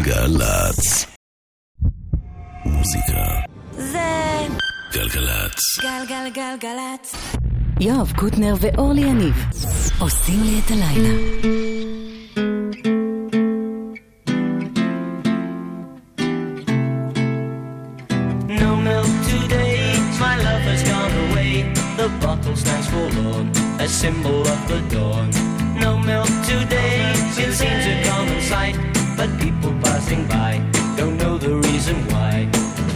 גלגלצ. מוזיקה. זה גלגלצ. גלגלגלגלצ. יואב קוטנר ואורלי יניב עושים לי את הלילה. No milk today, my lover's gone away. The bottle stands forlorn, a symbol of the dawn. No milk today, it seems a common sight. But people passing by don't know the reason why.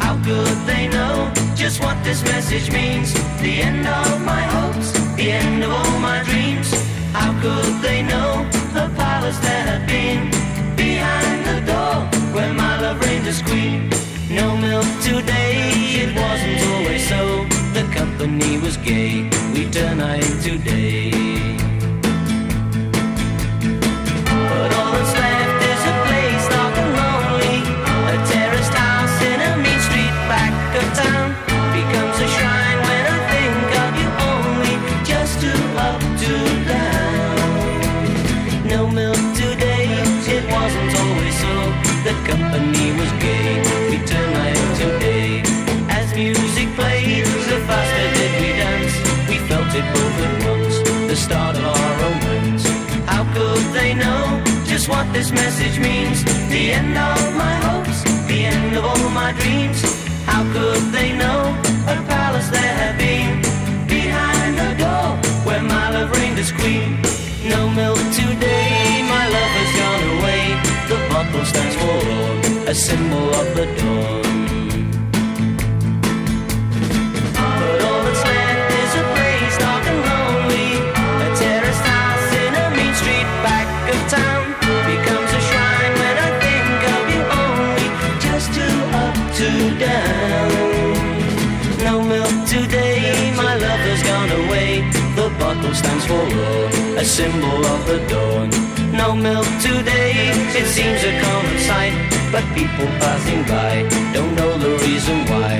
How could they know just what this message means? The end of my hopes, the end of all my dreams. How could they know the palace that had been behind the door where my love reigned as queen? No milk today, it wasn't always so. The company was gay, we turn night into day. But all that's left is a place dark and lonely. A terraced house in a mean street back of town becomes a shrine when I think of you only. Just too up, too down. No milk today, it wasn't always so. The company was gay, we turned night to day. As music played, the faster did we dance. We felt it both at once, the start of our romance. How could they know just what this message means? The end of my hopes, the end of all my dreams. How could they know a palace there had been behind the door where my love reigned as queen? No milk today, my love has gone away. The bottle stands for all, a symbol of the dawn. But all that's left is a place dark and lonely. A terraced house in a mean street back of town becomes a shrine when I think of you only. Just too up, too down. No milk today, my love has gone away. The bottle stands for all, a symbol of the dawn. No milk today, it seems a common sight. But people passing by don't know the reason why.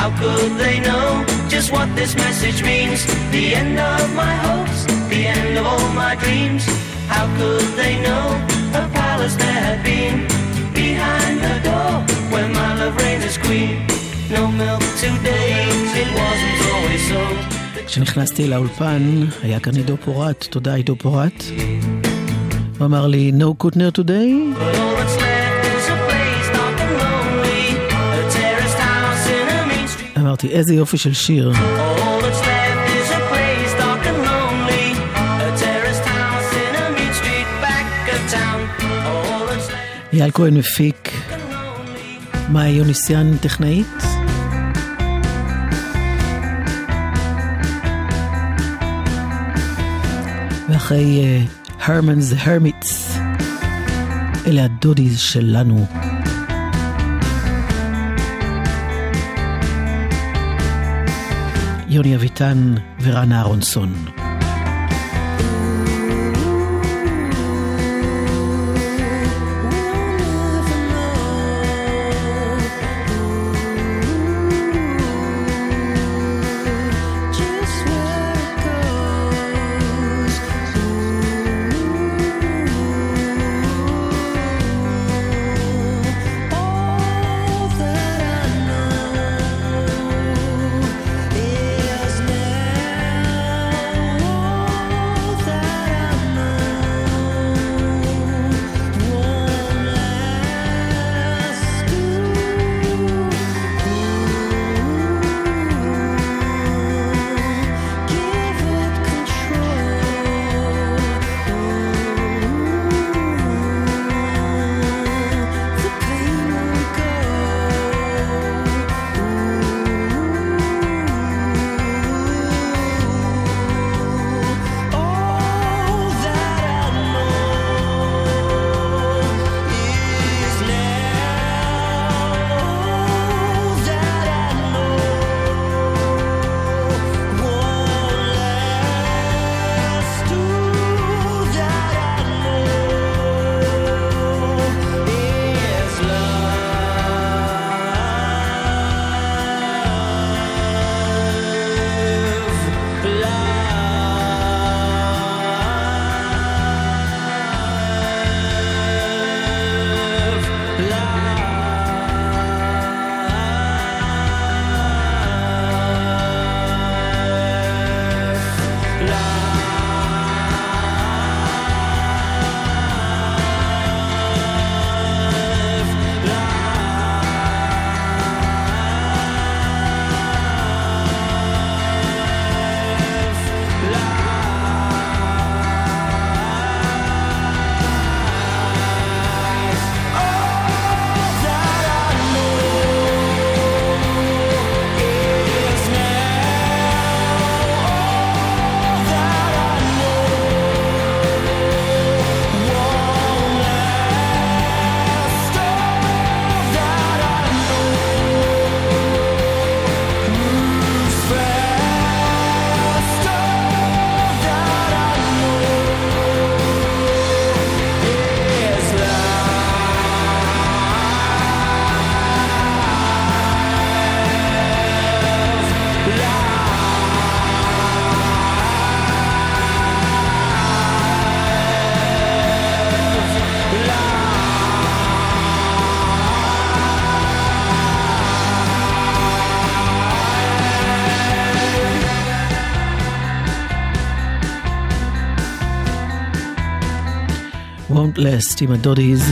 How could they know just what this message means? The end of my hopes, the end of all my dreams. How could they know a palace there had been behind the door where my love reigns as queen? No milk today, it wasn't always so. כשנכנסתי לאולפן, היה כאן עידו פורט, תודה עידו פורט. הוא אמר לי, no קוטנר today, But all that's left is a place dark and lonely, a terraced house in a mean street. אמרתי, איזה יופי של שיר. All that's left is a place dark and lonely, a terraced house in a mean street back of town. All that's left אייל כהן מפיק, and lonely. מאי יוניסיאן טכנאית. ואחרי אה, הרמנס הרמיטס, אלה הדודיז שלנו. יוני אביטן ורנה אהרונסון. Is now Countless עם הדודיז.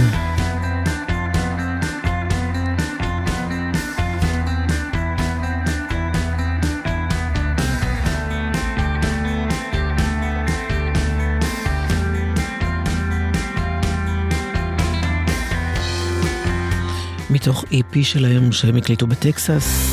מתוך EP שלהם שהם הקליטו בטקסס.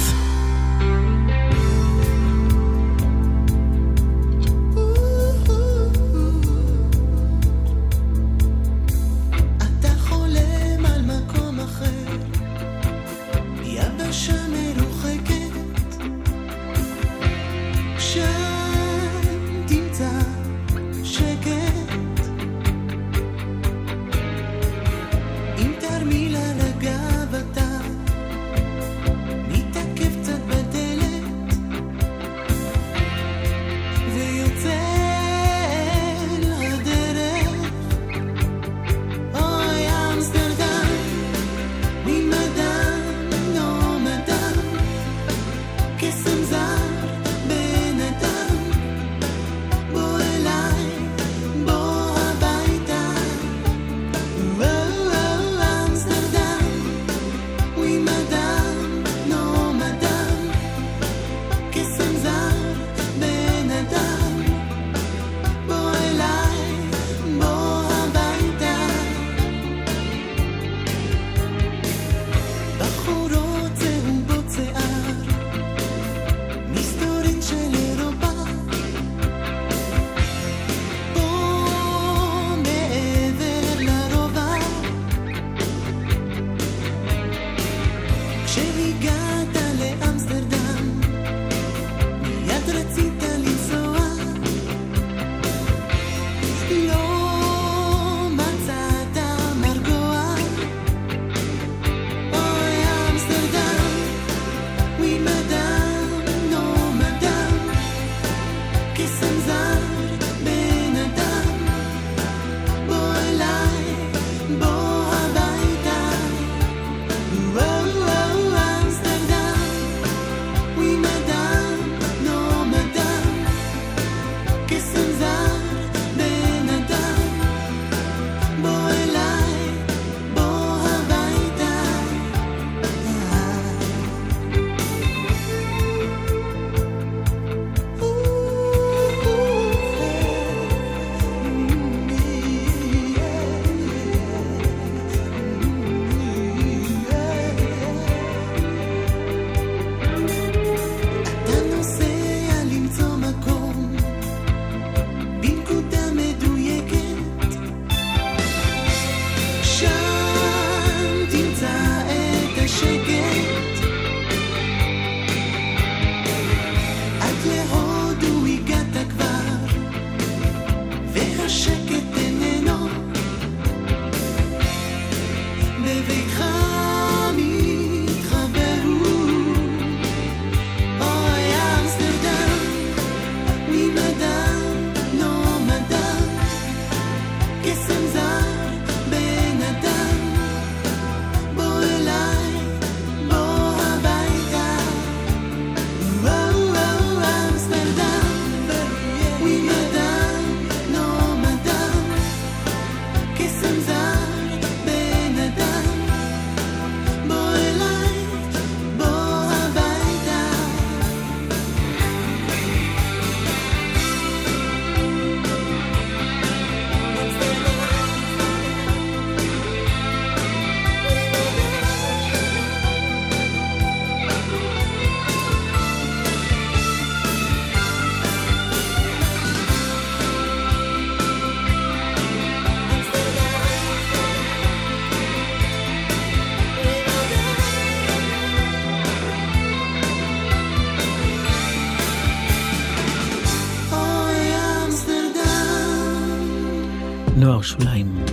נוער שוליים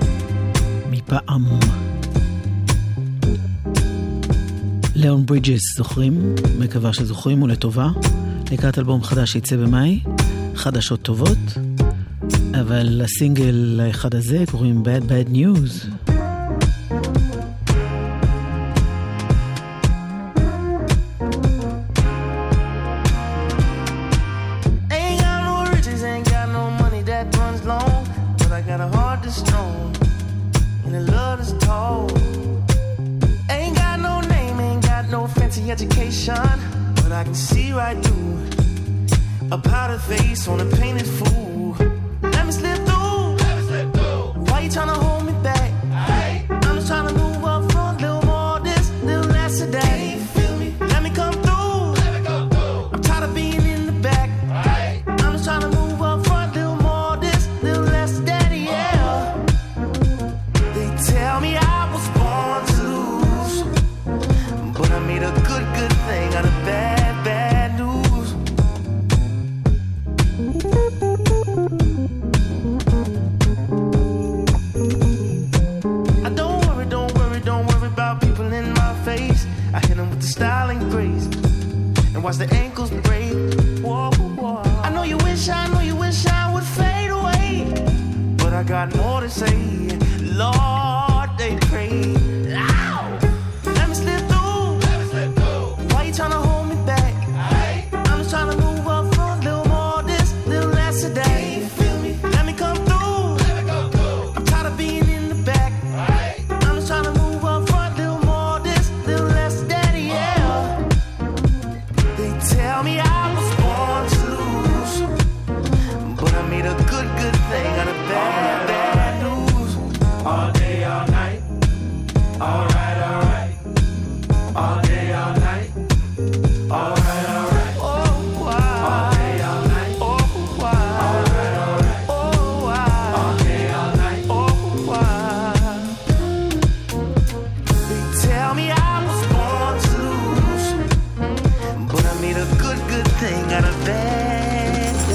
מפעם. ליאון ברידג'ס, זוכרים? מקווה שזוכרים ולטובה. לקראת אלבום חדש שיצא במאי, חדשות טובות, אבל הסינגל האחד הזה קוראים Bad Bad News. got a heart that's strong. an education, but I can see right through a powder face on a painted fool. Let me slip through. Why you tryna hold me back? I'm just tryna move up front, little more this, little less of that. Let me come through. I'm tired of being in the back. I'm just tryna move up front, little more this, little less of that, yeah. They tell me I was born to lose. But I made a good, good thing out of bad, bad news. I don't worry, don't worry, don't worry about people in my face. I hit 'em with the style and grace. And watch the ankles break. Whoa, whoa. I know you wish, I know you wish I would fade away but I got more to say. Lord, they pray. Ow! Let me slip through. Why you tryna hold me back? I'm just tryna move up front, little more this, little less of that. Let me come through. I'm tired of being in the back. I'm just tryna move up front, little more this, little less of that, yeah. They tell me I was born to lose. But I made a good, good thing out of bad, bad news. All day, all night. Alright, alright. All day, all night. Alright, alright. Oh, why? All day, all night. Oh, why? Alright, alright. Oh, why? All day, all night. Oh, why? They tell me I was born to lose. But I made a good, good thing out of bad, bad news.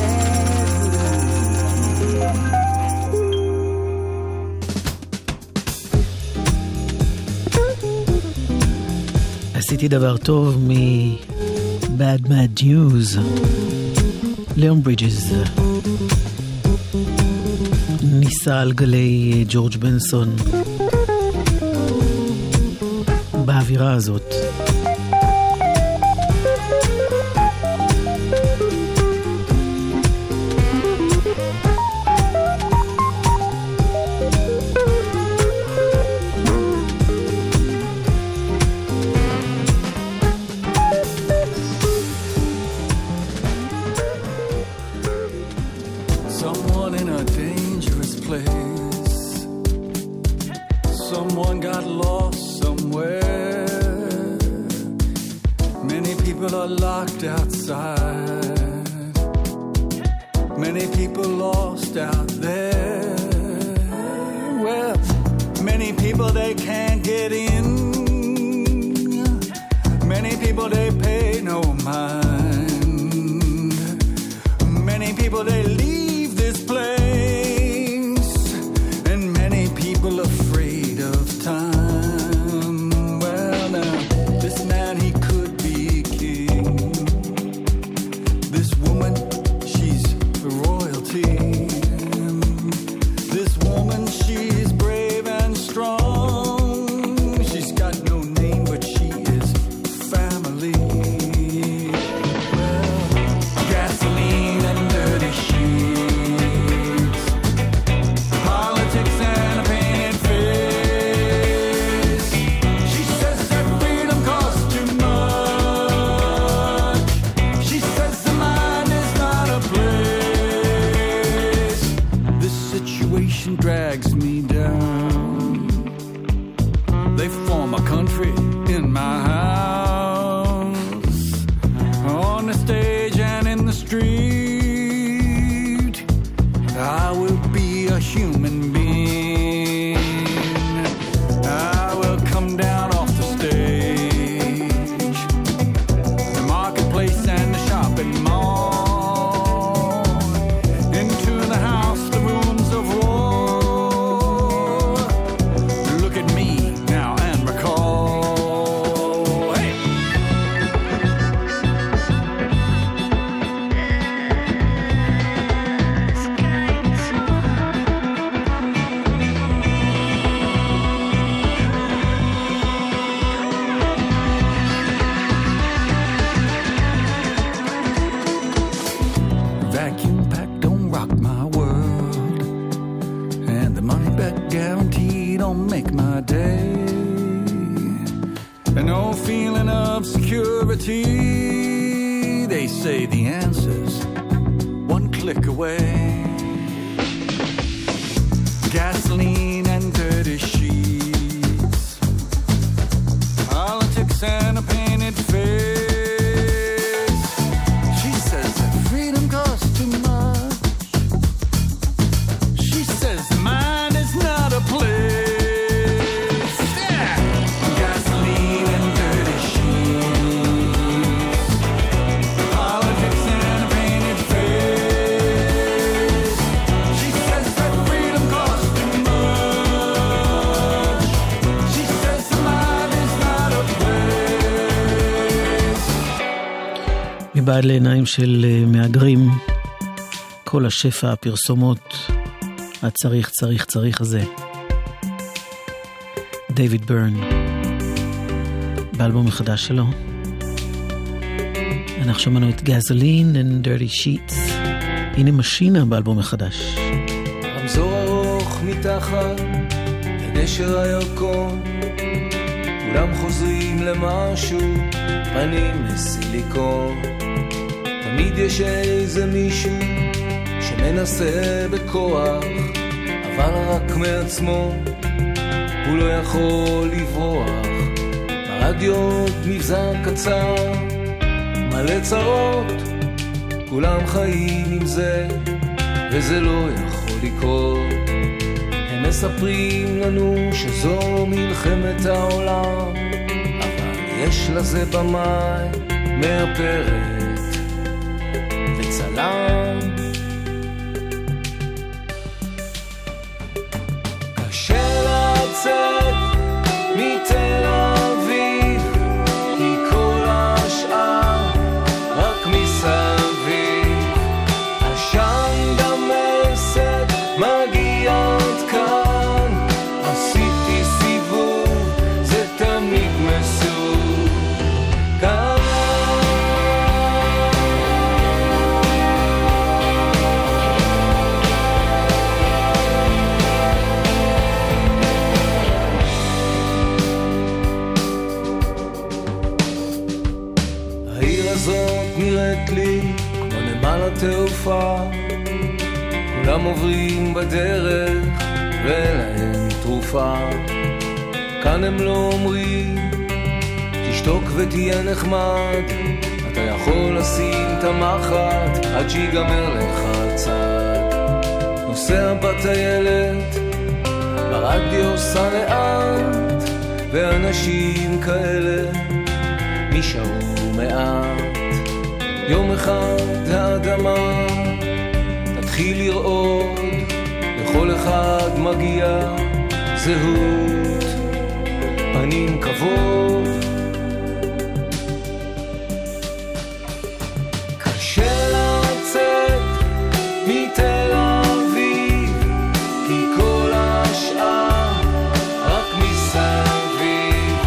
עשיתי דבר טוב מ-Bad Mad News, ליאון ברידג'ס. ניסה על גלי אה, ג'ורג' בנסון באווירה הזאת. Someone in a dangerous place. Someone got lost somewhere. Many people are locked outside. Many people lost out there. Well, many people they can't get in. Many people they pay no mind. Many people they leave this place, and many people afraid of time. Well, now this man he could be king. This woman she's royalty. This woman she's brave and strong. She's got no name, but she is family. Well, gasoline and dirty sheets, politics and a painted face. She says that freedom costs too much. She says the mind is not a place. This situation drags me down. They form a country in my house on the stage and in the street. I will be a human being. I will come down off the stage, the marketplace and the shopping mall. Into the house, the rooms of war. Look at me now and recall. Hey! Vacuum pack don't rock my world. And the money back guarantee don't make my day. and no feeling of security. They say the answer's one click away. Gasoline and dirty sheets, politics and a painted face. She says that freedom costs too much. She says the mind is not a place. Yeah. Gasoline and dirty sheets. Politics and a painted face. She says that freedom costs too much. She says the mind is not a place. מבעד לעיניים של אה, מהגרים, כל השפע, הפרסומות, הצריך, צריך, צריך הזה. דייוויד ברן, באלבום החדש שלו. אנחנו שמענו את גזלין and dirty sheets. הנה משינה באלבום החדש. רמזור ארוך מתחת לנשר הירקון כולם חוזרים למשהו, פנים לסיליקון תמיד יש איזה מישהו שמנסה בכוח אבל רק מעצמו הוא לא יכול לברוח ברדיו עוד מבזק קצר מלא צרות כולם חיים עם זה וזה לא יכול לקרות הם מספרים לנו שזו מלחמת העולם, אבל יש לזה במאי, מאפרת וצלם. קשה לצאת מתל אביב, כי כל השאר רק מסביב. עשן דמשק מגיע עד כאן, עשיתי סיבוב, זה תמיד מסוכן. העיר הזאת נראית לי כמו נמל התעופה כולם עוברים בדרך ואין להם תרופה כאן הם לא אומרים תשתוק ותהיה נחמד אתה יכול לשים את המחט עד שיגמר לך הצד נוסע בטיילת ברדיו סע לאט ואנשים כאלה נשארו מעט. יום אחד האדמה תתחיל לרעוד, לכל אחד מגיע זהות, פנים כבוד. קשה לצאת מתל אביב, כי כל השאר רק מסביב.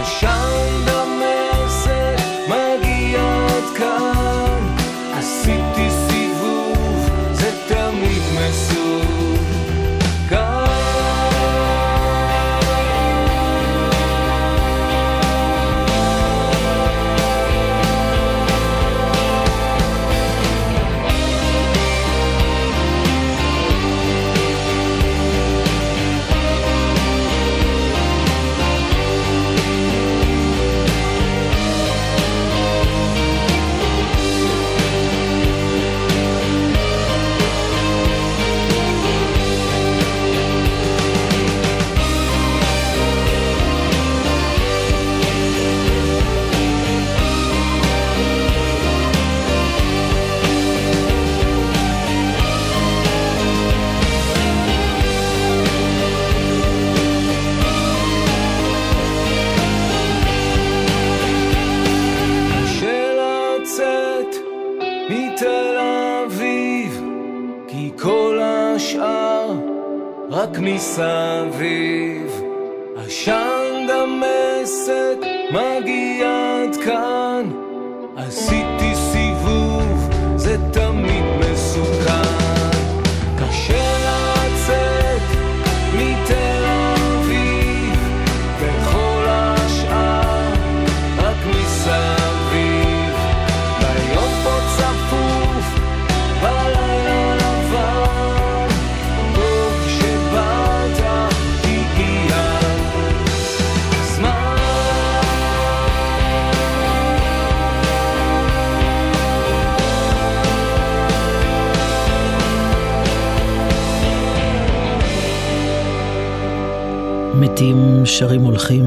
עשן דמשק מגיע עד כאן, עשיתי סיבוב, זה תמיד מסוכן. קשה לצאת מתל אביב, כי כל השאר רק מסביב. עשן דמשק מגיע עד כאן, עשיתי סיבוב, זה תמיד מסוכן. קשה לצאת מתל אביב, וכל השאר מתים, שרים הולכים.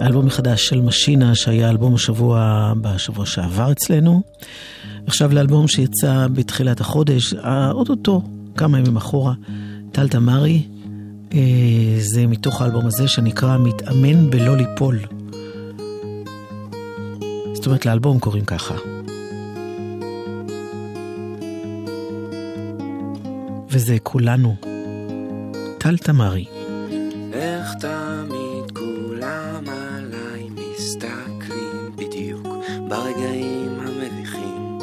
האלבום החדש של משינה, שהיה אלבום השבוע בשבוע שעבר אצלנו. עכשיו לאלבום שיצא בתחילת החודש, אה, אוטוטו, כמה ימים אחורה, טל תמרי. אה, זה מתוך האלבום הזה שנקרא "מתאמן בלא ליפול". זאת אומרת, לאלבום קוראים ככה. וזה כולנו. טל תמרי. איך תמיד כולם עליי מסתכלים בדיוק ברגעים המביכים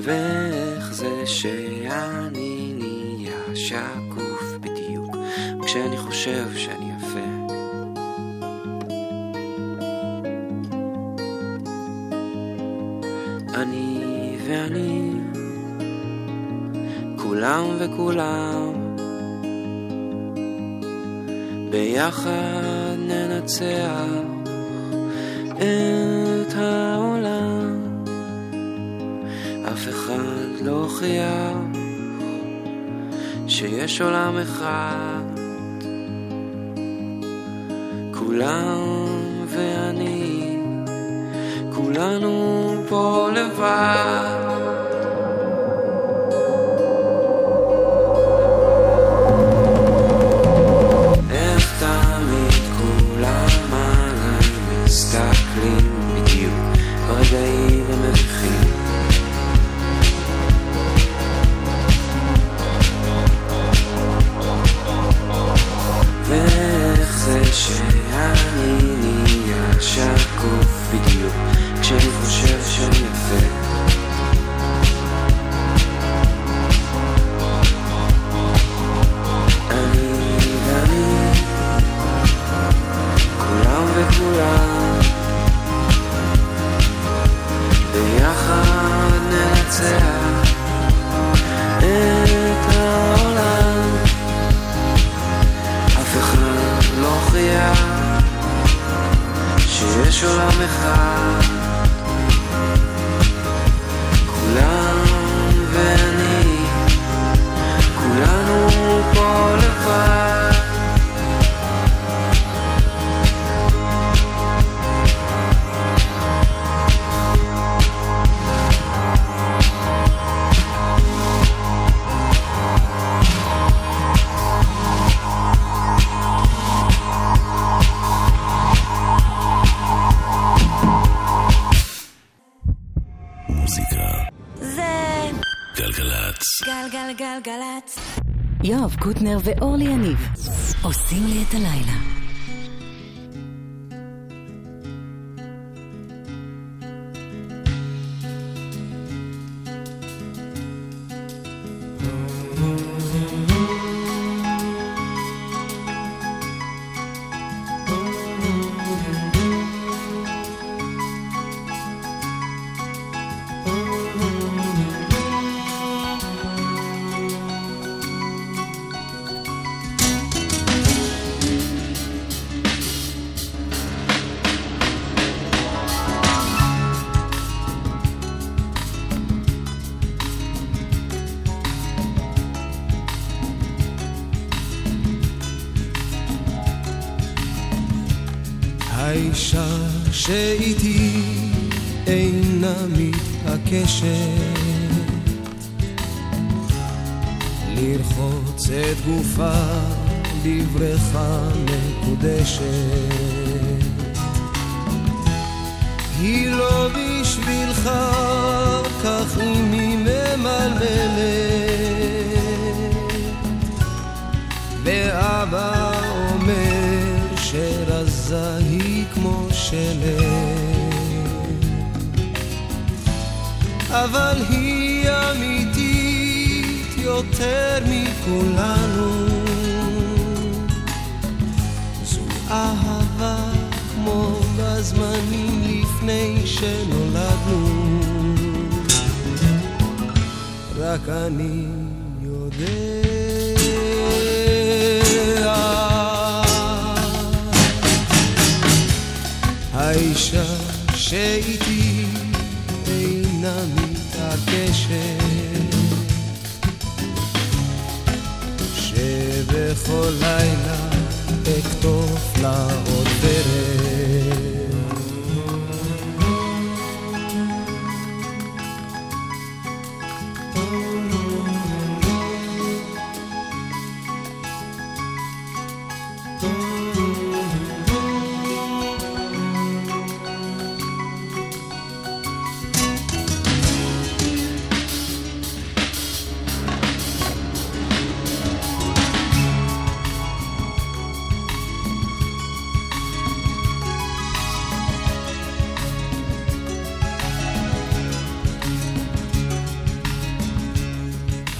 ואיך זה שאני נהיה שקוף בדיוק כשאני חושב שאני יפה אני ואני, כולם וכולם, ביחד ננצח את העולם. אף אחד לא הוכיח שיש עולם אחד, כולם ואני. כולנו פה לבד. איך תמיד כולם עליי מסתכלים בדיוק ברגעים המביכים. ואיך זה שאני נהיה שקוף בדיוק כשאני חושב שאני יפה אני ואני כולם וכולם ביחד ננצח את העולם אף אחד לא הוכיח שיש עולם אחד כולם ואני כולנו פה לבד מוזיקה. זה גלגלצ. גלגלגלצ. יואב קוטנר ואורלי יניב עושים לי את הלילה. האישה שאיתי אינה מתעקשת לרחוץ את גופה לבריכה מקודשת היא לא בשבילך כך אם היא ממלמלת ואבא אומר שרזה היא כמו שלג אבל היא אמיתית יותר מכולנו זו אהבה כמו בזמנים לפני שנולדנו רק אני יודע האישה שאיתי אינה מתעקשת בכל לילה אכתוב לה עוד דרך.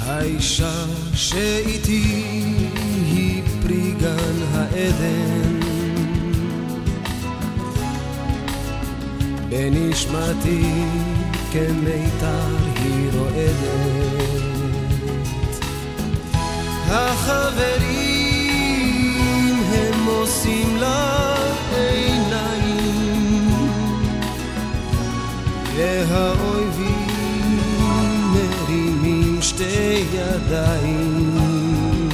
האישה שאיתי היא פרי גן העדן. בנשמתי כמיתר היא רועדת. החברים הם עושים לה עיניים, והאויבים מרימים שתי ידיים.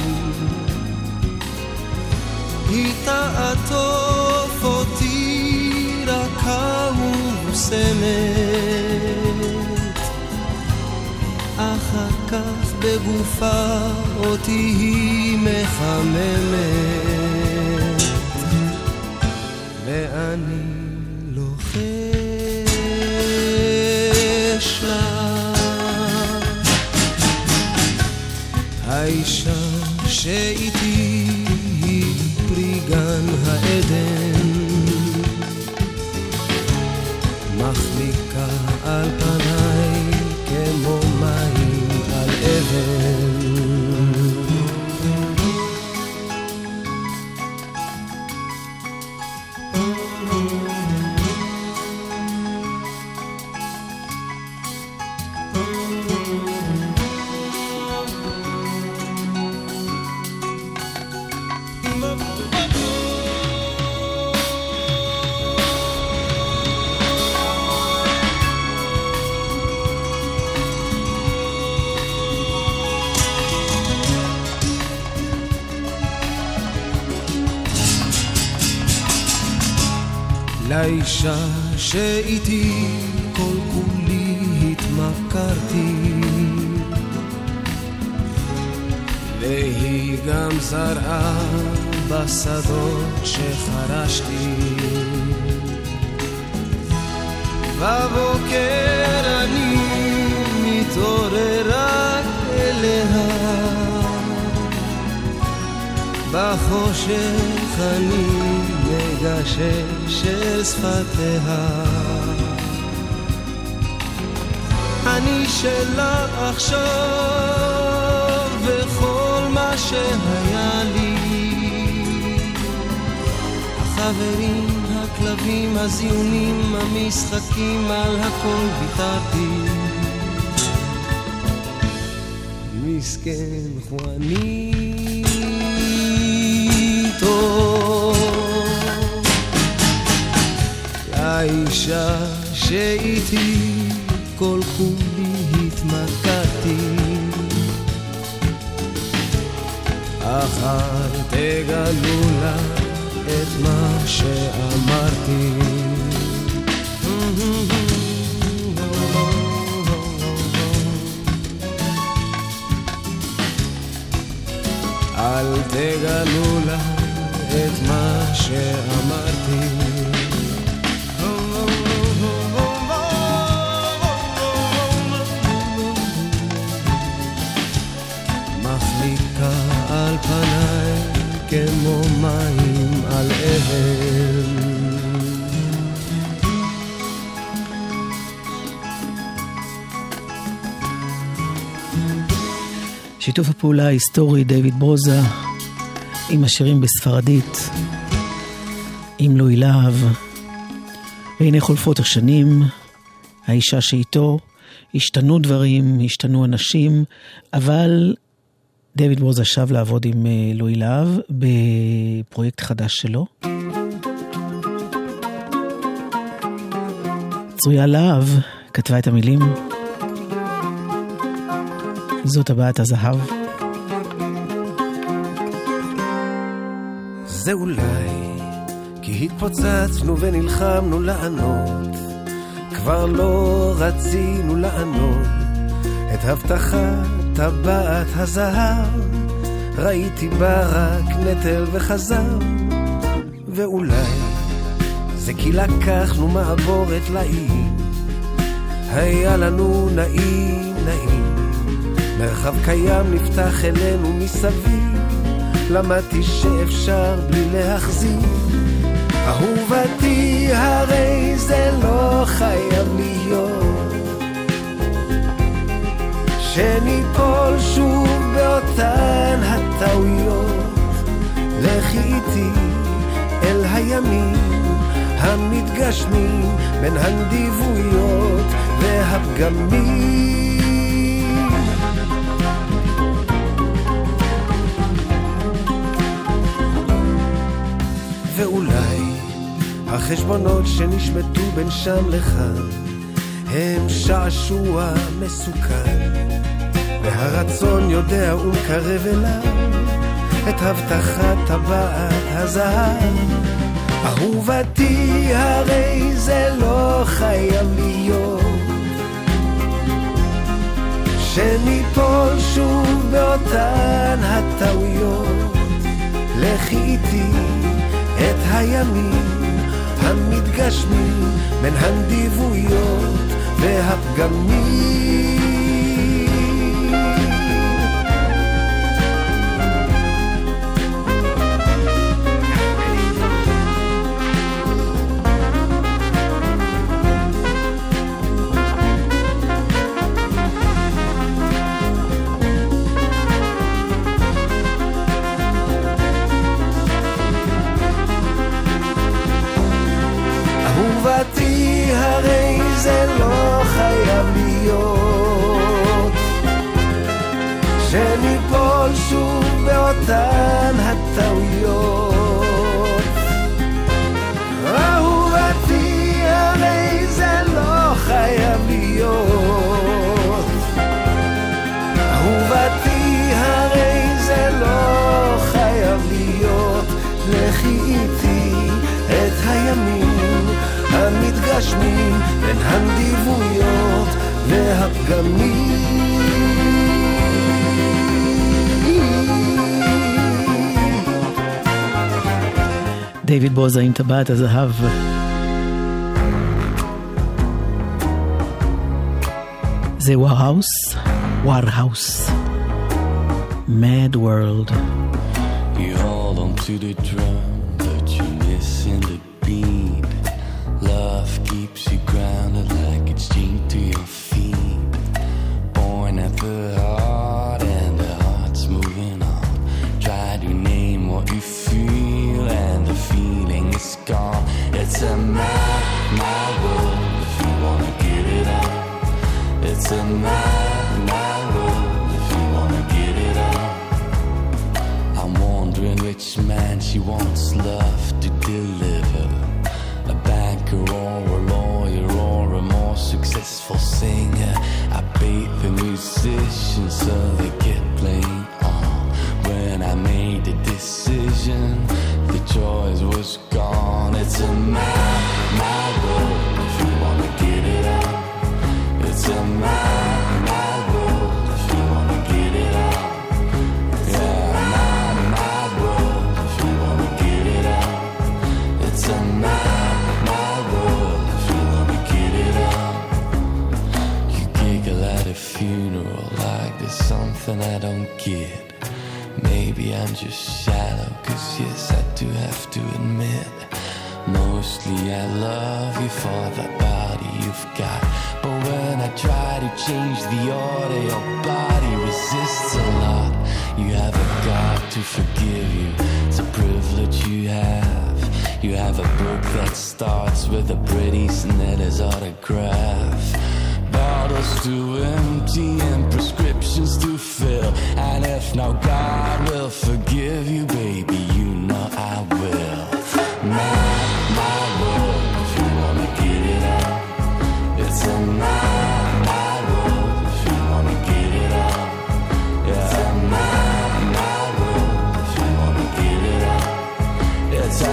היא תעטוף אותי רכה ומוסמת, אחר כך בגופה אותי היא מחממת, ואני לא לוחש לה. האישה שאיתי היא פרי גן העדן מחליקה על פניי כמו מים על אבן לאישה שאיתי כל כולי התמכרתי והיא גם זרעה בשדות שחרשתי בבוקר אני מתעורר רק אליה בחושך אני מגשש אל שפתיה. אני שלה עכשיו, וכל מה שהיה לי. החברים, הכלבים, הזיונים, המשחקים, על הכל ויתרתי. מסכן חואניטו. לאישה שאיתי כל כולי התמכרתי. אחר תגלו לה את מה שאמרתי. אל תגלו לה את מה שאמרתי. מחליקה על פניי כמו מים על אבן. שיתוף הפעולה ההיסטורי דיוויד ברוזה עם השירים בספרדית, עם לואי להב. והנה חולפות השנים, האישה שאיתו, השתנו דברים, השתנו אנשים, אבל דיוויד ברוזה שב לעבוד עם אה, לואי להב בפרויקט חדש שלו. צרויה להב כתבה את המילים. זאת הבעת הזהב. זה אולי כי התפוצצנו ונלחמנו לענות כבר לא רצינו לענות את הבטחת טבעת הזהב ראיתי בה רק נטל וחזר ואולי זה כי לקחנו מעבורת לאי היה לנו נעים נעים מרחב קיים נפתח אלינו מסביב למדתי שאפשר בלי להחזיר אהובתי הרי זה לא חייב להיות שניפול שוב באותן הטעויות לכי איתי אל הימים המתגשמים בין הנדיבויות והפגמים ואולי החשבונות שנשמטו בין שם לכאן הם שעשוע מסוכן והרצון יודע ומקרב אליו את הבטחת טבעת הזהב אהובתי הרי זה לא חייב להיות שניפול שוב באותן הטעויות לכי איתי את הימים המתגשמים בין הנדיבויות והפגמים. אהובתי הרי זה לא חייב להיות שניפול שוב באותן הטעויות אהובתי הרי זה לא חייב להיות אהובתי הרי זה לא חייב להיות לכי איתי את הימים המתגשמים בין הנדיבויות והפגמים. דיוויד בוזה עם טבעת הזהב. זה וואהאוס, וואהאוס. Mad World. You hold on to the drum, but you're missing the beat. Love keeps you grounded like it's chained to your feet. Born at the heart, and the heart's moving on. Try to name what you feel, and the feeling is gone. It's a mad, mad world if you wanna get it on. It's a mad, mad world if you wanna get it on. I'm wondering which man she wants love to deliver. A banker or a lawyer or a more successful singer. I bait the musicians so they get playing on. When I made the decision, the choice was gone. It's a mad, mad world if you wanna get it on. It's a mad, mad world if you wanna get it on. Yeah, mad, mad world if you wanna get it on. It's a mad, mad world if you wanna get it on. You giggle at a funeral like there's something I don't get. Maybe I'm just shallow, cause yes, I do have to admit. Mostly I love you for the body you've got. But when I try to change the order, your body resists a lot. You haven't got to forgive you, it's a privilege you have. You have a book that starts with a pretty Snitters autograph. Bottles to empty and prescriptions to fill. And if now God will forgive you, baby, you know I will. Mad, mad world, if you wanna get it on. It's a mad, mad world, if you wanna get it on. Yeah. It's a mad, mad world, if you wanna get it on. Uh,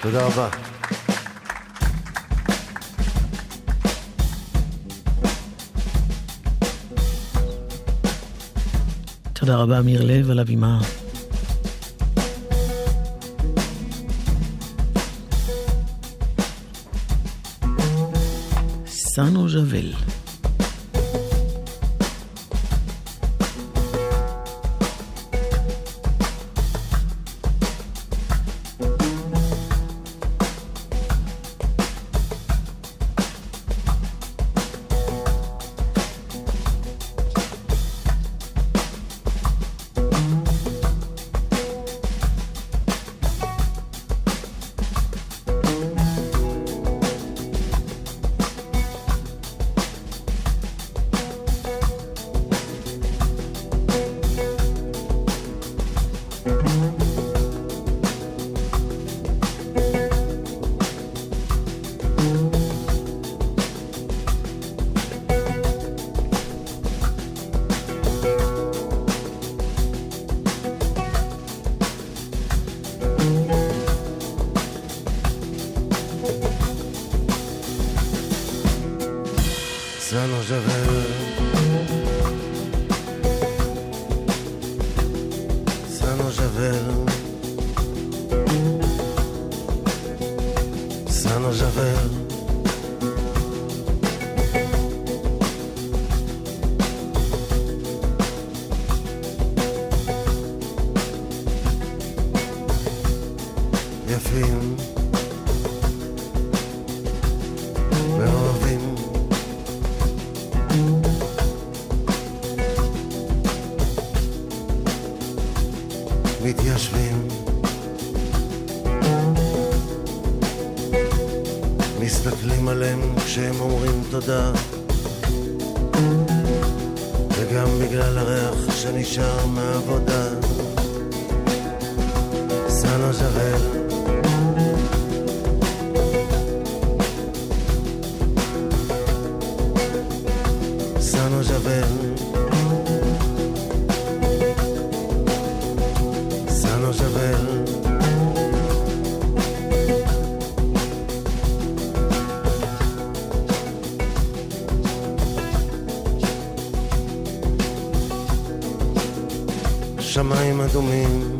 תודה רבה. תודה רבה, אמיר לב, על הבימה. סנו ז'בל. סנו ז'בל. סנו ז'בל. סנו ז'בל. יפים. מאוהבים. מתיישבים, מסתכלים עליהם כשהם אומרים תודה, וגם בגלל הריח שנשאר מהעבודה. סנו ז'רל, סנו ז'רל Sano Javel. שמיים אדומים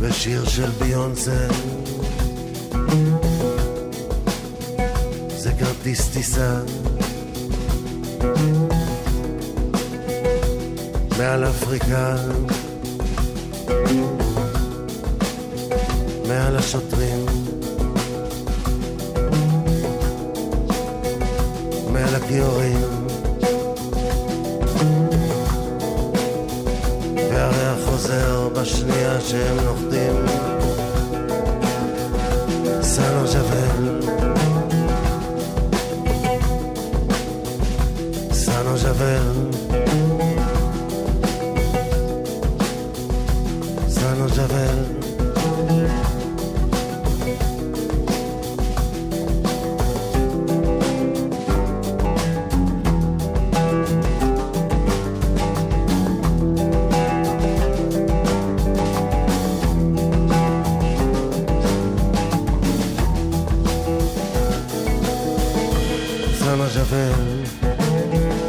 ושיר של ביונסה זה כרטיס טיסה מעל אפריקה, מעל השוטרים, מעל הכיורים, והריח חוזר בשנייה שהם נוחתים. סנו ז'בל, סנו ז'בל Sano Javel. Sano Javel.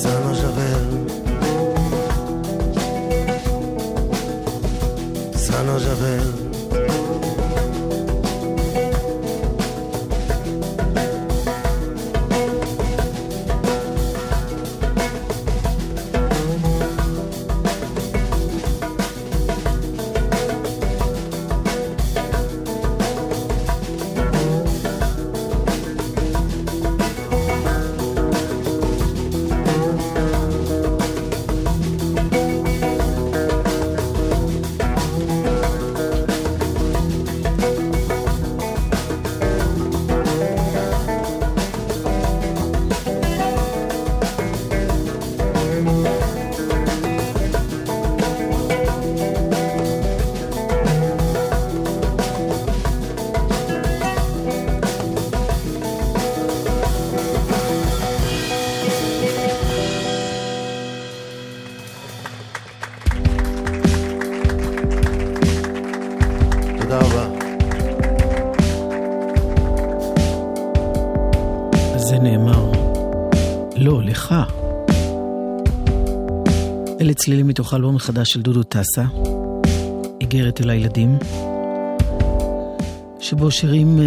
Sano Javel. Sano Javel. לא, אלה צלילים מתוך האלבום החדש של דודו טסה, איגרת אל הילדים, שבו שירים אה,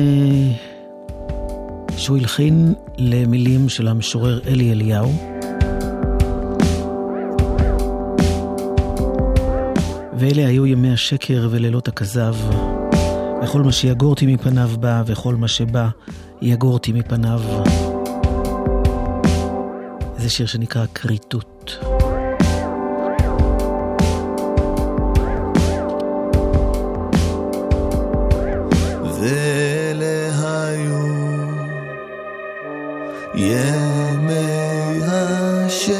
שהוא הלחין למילים של המשורר אלי אליהו. ואלה היו ימי השקר ולילות הכזב, וכל מה שיגורתי מפניו בא, וכל מה שבא יגורתי מפניו. זה שיר שנקרא כריתות. ואלה היו ימי השקר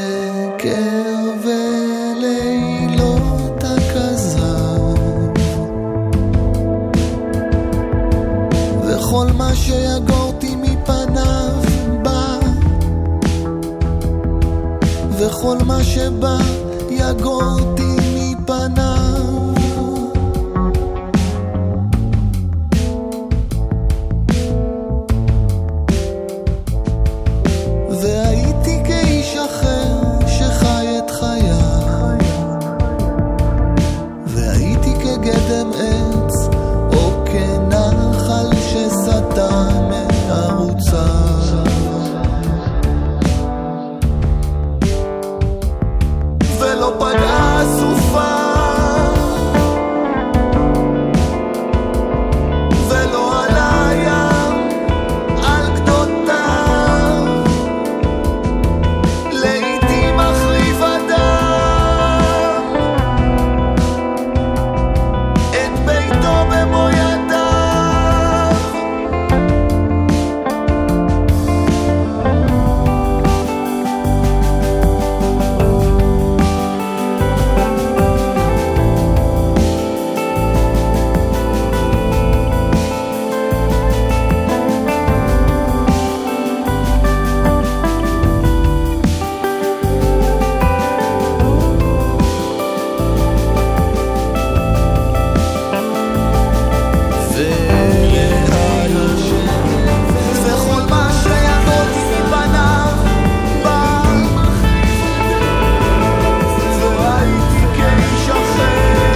ולילות הכזב וכל מה שיגורתי מפניו בא וכל מה שבא יגורתי מפניו והייתי כאיש אחר שחי את חייו והייתי כגדם עץ או כנחל שסטה מערוציו ולא פגעה סופה ולא עלה ים על גדותיו לעתים מחריב אדם את ביתו במו ידיו וכל מה שיכולתי מפניו בא. לא הייתי כאיש אחר.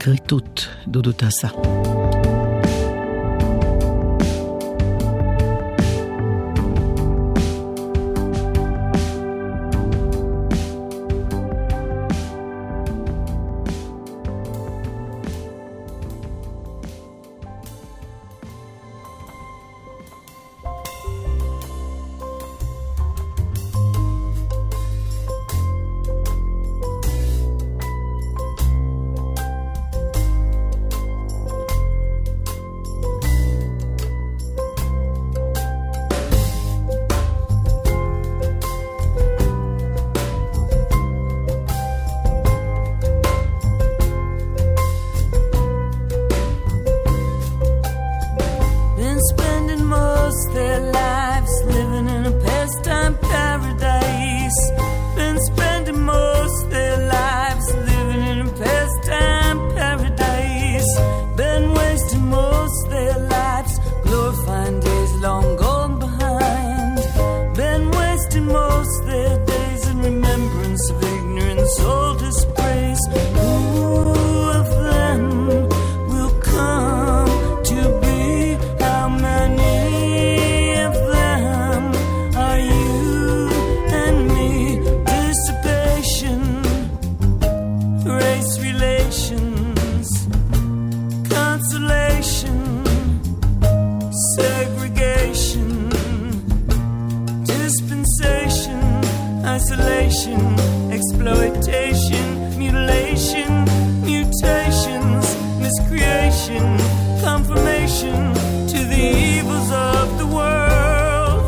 כריתות, דודו טסה. Been spending most their lives living in a pastime paradise. Been spending most their lives living in a pastime paradise. Been wasting most their lives glorifying days long gone behind. Been wasting most their days in remembrance of ignorance or disgrace. Who of them? will come to be. How many of them are you and me? Dissipation, race relations, consolation, segregation, dispensation, isolation, exploitation, mutilation, mutations, miscreation, confirmation to the evils of the world.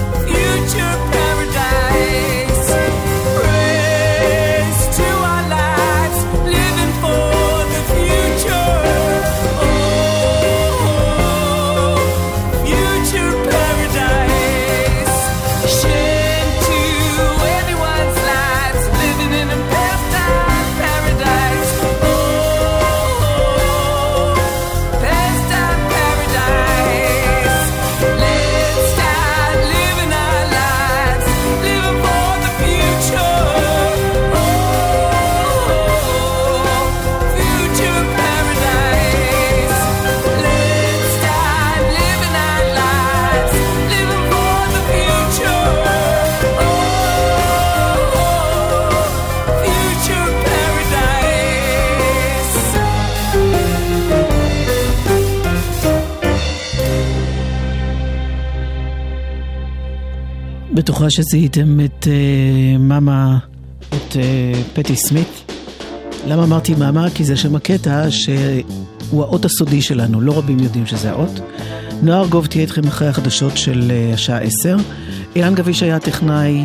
Oh. Oh, בטוחה שזיהיתם את uh, מאמה, את uh, פטי סמית. למה אמרתי מאמה? כי זה שם הקטע שהוא האות הסודי שלנו, לא רבים יודעים שזה האות. נוער גוב תהיה איתכם אחרי החדשות של uh, השעה 10. אילן גביש היה טכנאי,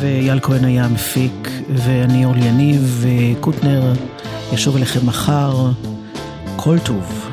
ואייל כהן היה המפיק, ואני אורלי יניב, וקוטנר ישוב אליכם מחר. כל טוב.